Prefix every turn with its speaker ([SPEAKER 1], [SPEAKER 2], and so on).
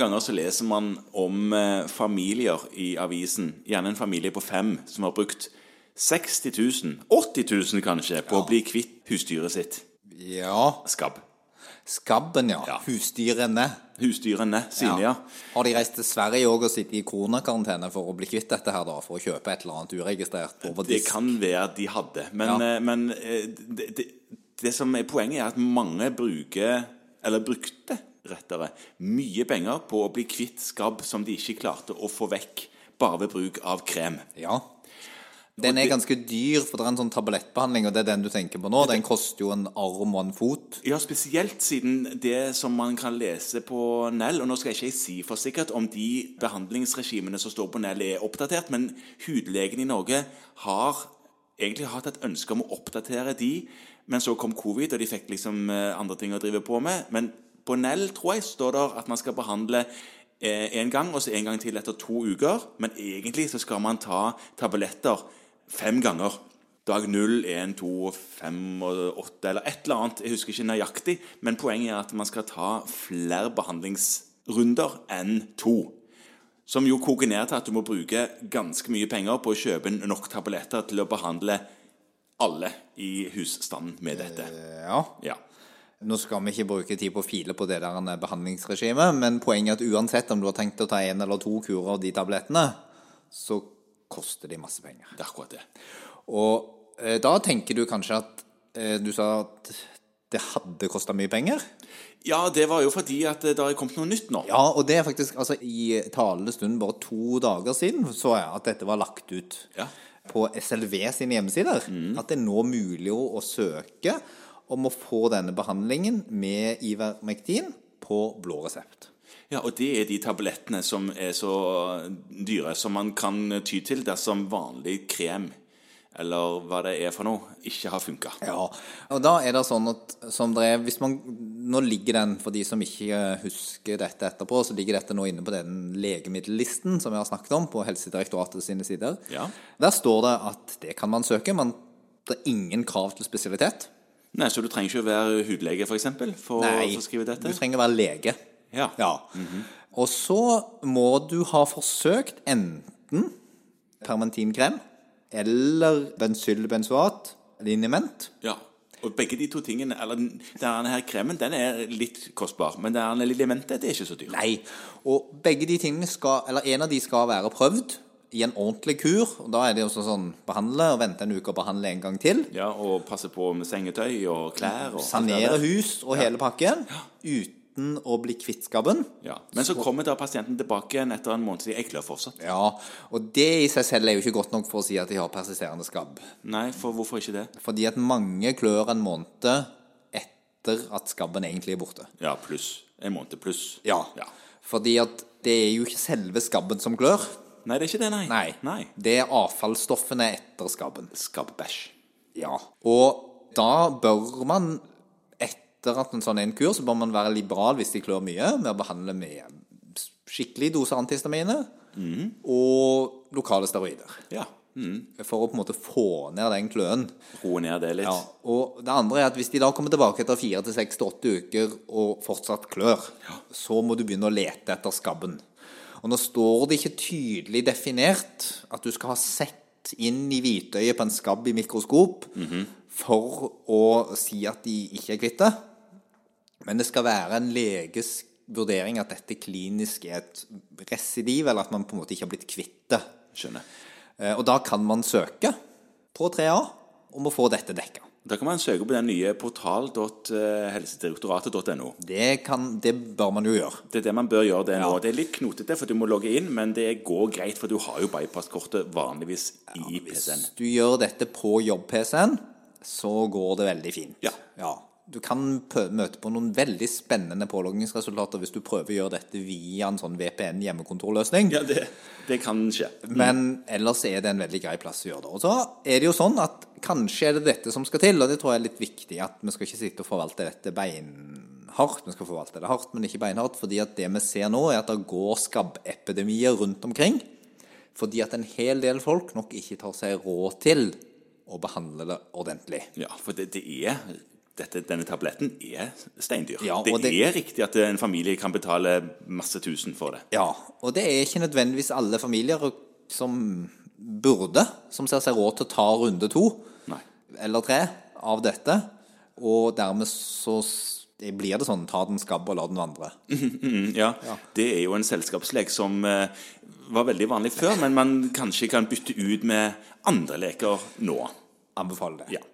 [SPEAKER 1] ganger så leser man om eh, familier i avisen, gjerne en familie på fem, som har brukt 60 000, 80 000 kanskje, på å bli kvitt husdyret sitt,
[SPEAKER 2] Ja.
[SPEAKER 1] skabb.
[SPEAKER 2] Skabben, ja.
[SPEAKER 1] Ja.
[SPEAKER 2] Husdyrene.
[SPEAKER 1] Husdyrene sine, ja.
[SPEAKER 2] Har de reist til Sverige òg og sittet i koronakarantene for å bli kvitt dette her, da? For å kjøpe et eller annet uregistrert over
[SPEAKER 1] Det
[SPEAKER 2] disk?
[SPEAKER 1] kan være at de hadde. Men,
[SPEAKER 2] Ja.
[SPEAKER 1] eh, men eh, det, det, det som er poenget, er at mange bruker, eller brukte rettere, mye penger på å bli kvitt skabb som de ikke klarte å få vekk bare ved bruk av krem.
[SPEAKER 2] Ja. Den er ganske dyr, for det er en sånn tablettbehandling, og det er den du tenker på nå. Den koster jo en arm og en fot.
[SPEAKER 1] Ja, spesielt siden det som man kan lese på Nell, og nå skal ikke jeg si for sikkert om de behandlingsregimene som står på Nell er oppdatert, men hudlegene i Norge har egentlig hatt et ønske om å oppdatere de, men så kom covid, og de fikk liksom eh, andre ting å drive på med. Men på Nell, tror jeg, står det at man skal behandle én gang, og så en gang til etter to uker, men egentlig så skal man ta tabletter fem ganger. Dag 0, 1, 2, 5 og 8 eller et eller annet. Jeg husker ikke nøyaktig, men poenget er at man skal ta flere behandlingsrunder enn to. Som jo koker ned til at du må bruke ganske mye penger på å kjøpe inn nok tabletter til å behandle alle i husstanden med dette.
[SPEAKER 2] Eh, Ja.
[SPEAKER 1] Ja.
[SPEAKER 2] Nå skal vi ikke bruke tid på å file på det der eh, behandlingsregimet, men poenget er at uansett om du har tenkt å ta én eller to kurer av de tablettene, så koster de masse penger.
[SPEAKER 1] Det er akkurat det.
[SPEAKER 2] Og eh, da tenker du kanskje at eh, Du sa at det hadde kosta mye penger?
[SPEAKER 1] Ja, det var jo fordi at det har kommet noe nytt nå.
[SPEAKER 2] Ja, og det er faktisk altså, I talende stund bare to dager siden så jeg at dette var lagt ut
[SPEAKER 1] Ja.
[SPEAKER 2] på SLV sine hjemmesider. At det er nå mulig å, å søke om å få denne behandlingen med Ivermektin på blå resept.
[SPEAKER 1] Ja, og det er de tablettene som er så dyre som man kan ty til dersom vanlig krem, eller hva det er for noe, ikke har funka.
[SPEAKER 2] Ja, og da er det sånn at som det er, hvis man, nå ligger den, for de som ikke husker dette etterpå, så ligger dette nå inne på den legemiddellisten som vi har snakket om på Helsedirektoratet sine sider.
[SPEAKER 1] Ja.
[SPEAKER 2] Der står det at det kan man søke, men det er ingen krav til spesialitet.
[SPEAKER 1] Nei, Så du trenger ikke å være hudlege, f.eks.? For, eksempel, for
[SPEAKER 2] Nei,
[SPEAKER 1] for å skrive dette? Mhm.
[SPEAKER 2] du trenger å være lege.
[SPEAKER 1] Ja.
[SPEAKER 2] Ja. Og så må du ha forsøkt enten permentinkrem eller bensylbenzoat, liniment,
[SPEAKER 1] ja. Og begge de to tingene Eller denne her kremen den er litt kostbar, men denne lillementet det er ikke så dyrt.
[SPEAKER 2] Nei. Og begge de tingene skal, eller en av de skal være prøvd i en ordentlig kur. Og da er det jo sånn- sånn behandle og vente en uke og behandle en gang til.
[SPEAKER 1] Ja, Og passe på med sengetøy og klær og
[SPEAKER 2] Sanere
[SPEAKER 1] alt det der.
[SPEAKER 2] hus og hele pakken uten å bli kvitt skabben.
[SPEAKER 1] Ja. Men så kommer da pasienten tilbake igjen etter en måned og sier 'jeg klør fortsatt'.
[SPEAKER 2] Ja, og det i seg selv er jo ikke godt nok for å si at de har persisterende skabb.
[SPEAKER 1] Nei, for hvorfor ikke det?
[SPEAKER 2] Fordi at mange klør en måned etter at skabben egentlig er borte.
[SPEAKER 1] Ja, pluss. En måned pluss. ja.
[SPEAKER 2] Fordi at det er jo ikke selve skabben som klør.
[SPEAKER 1] Nei, det er ikke det, nei.
[SPEAKER 2] Nei.
[SPEAKER 1] nei.
[SPEAKER 2] Det er avfallsstoffene etter skabben.
[SPEAKER 1] Skabbæsj.
[SPEAKER 2] Ja. Og da bør man, etter at en sånn er en kur, så bør man være liberal hvis de klør mye, med å behandle med skikkelig dose antihistaminer og lokale steroider.
[SPEAKER 1] Ja. Mm.
[SPEAKER 2] For å på en måte få ned den kløen.
[SPEAKER 1] Roe ned det litt.
[SPEAKER 2] Ja. Og det andre er at hvis de da kommer tilbake etter fire til seks til åtte uker og fortsatt klør, så må du begynne å lete etter skabben. Og nå står det ikke tydelig definert at du skal ha sett inn i hvitøyet på en skabb i mikroskop for å si at de ikke er kvitt det. Men det skal være en leges vurdering at dette klinisk er et residiv, eller at man på en måte ikke har blitt kvitt det.
[SPEAKER 1] Skjønner.
[SPEAKER 2] Eh, Og da kan man søke på 3A om å få dette dekka.
[SPEAKER 1] Da kan man søke på den nye portal.helsedirektoratet.no.
[SPEAKER 2] Det, kan, det bør man jo gjøre.
[SPEAKER 1] Det er det man bør gjøre det nå. Det er litt knotete, for du må logge inn, men det går greit, for du har jo bypasskortet vanligvis i PC-en.
[SPEAKER 2] Hvis du gjør dette på jobb-PC-en, så går det veldig fint.
[SPEAKER 1] Ja.
[SPEAKER 2] Du kan pø- møte på noen veldig spennende påloggingsresultater hvis du prøver å gjøre dette via en sånn VPN-hjemmekontorløsning.
[SPEAKER 1] Ja, det, det kan skje.
[SPEAKER 2] Mm. Men ellers er det en veldig grei plass å gjøre det. Og så er det jo sånn at kanskje er det dette som skal til, og det tror jeg er litt viktig at vi skal ikke sitte og forvalte dette beinhardt. Vi skal forvalte det hardt, men ikke beinhardt, fordi at det vi ser nå, er at det går skabbepidemier rundt omkring. Fordi at en hel del folk nok ikke tar seg råd til å behandle det ordentlig.
[SPEAKER 1] Ja, for det, det er dette, denne tabletten er steindyr.
[SPEAKER 2] Ja, og
[SPEAKER 1] det,
[SPEAKER 2] det-
[SPEAKER 1] er riktig at en familie kan betale masse tusen for det.
[SPEAKER 2] Ja, og det er ikke nødvendigvis alle familier som burde, som ser seg råd til å ta runde to
[SPEAKER 1] Nei.
[SPEAKER 2] eller tre av dette, og dermed så s- det blir det sånn, ta den skabb og la den vandre.
[SPEAKER 1] Mm, ja. det er jo en selskapslek som eh, var veldig vanlig før, men man kanskje kan bytte ut med andre leker nå.
[SPEAKER 2] Anbefaler det.
[SPEAKER 1] Ja.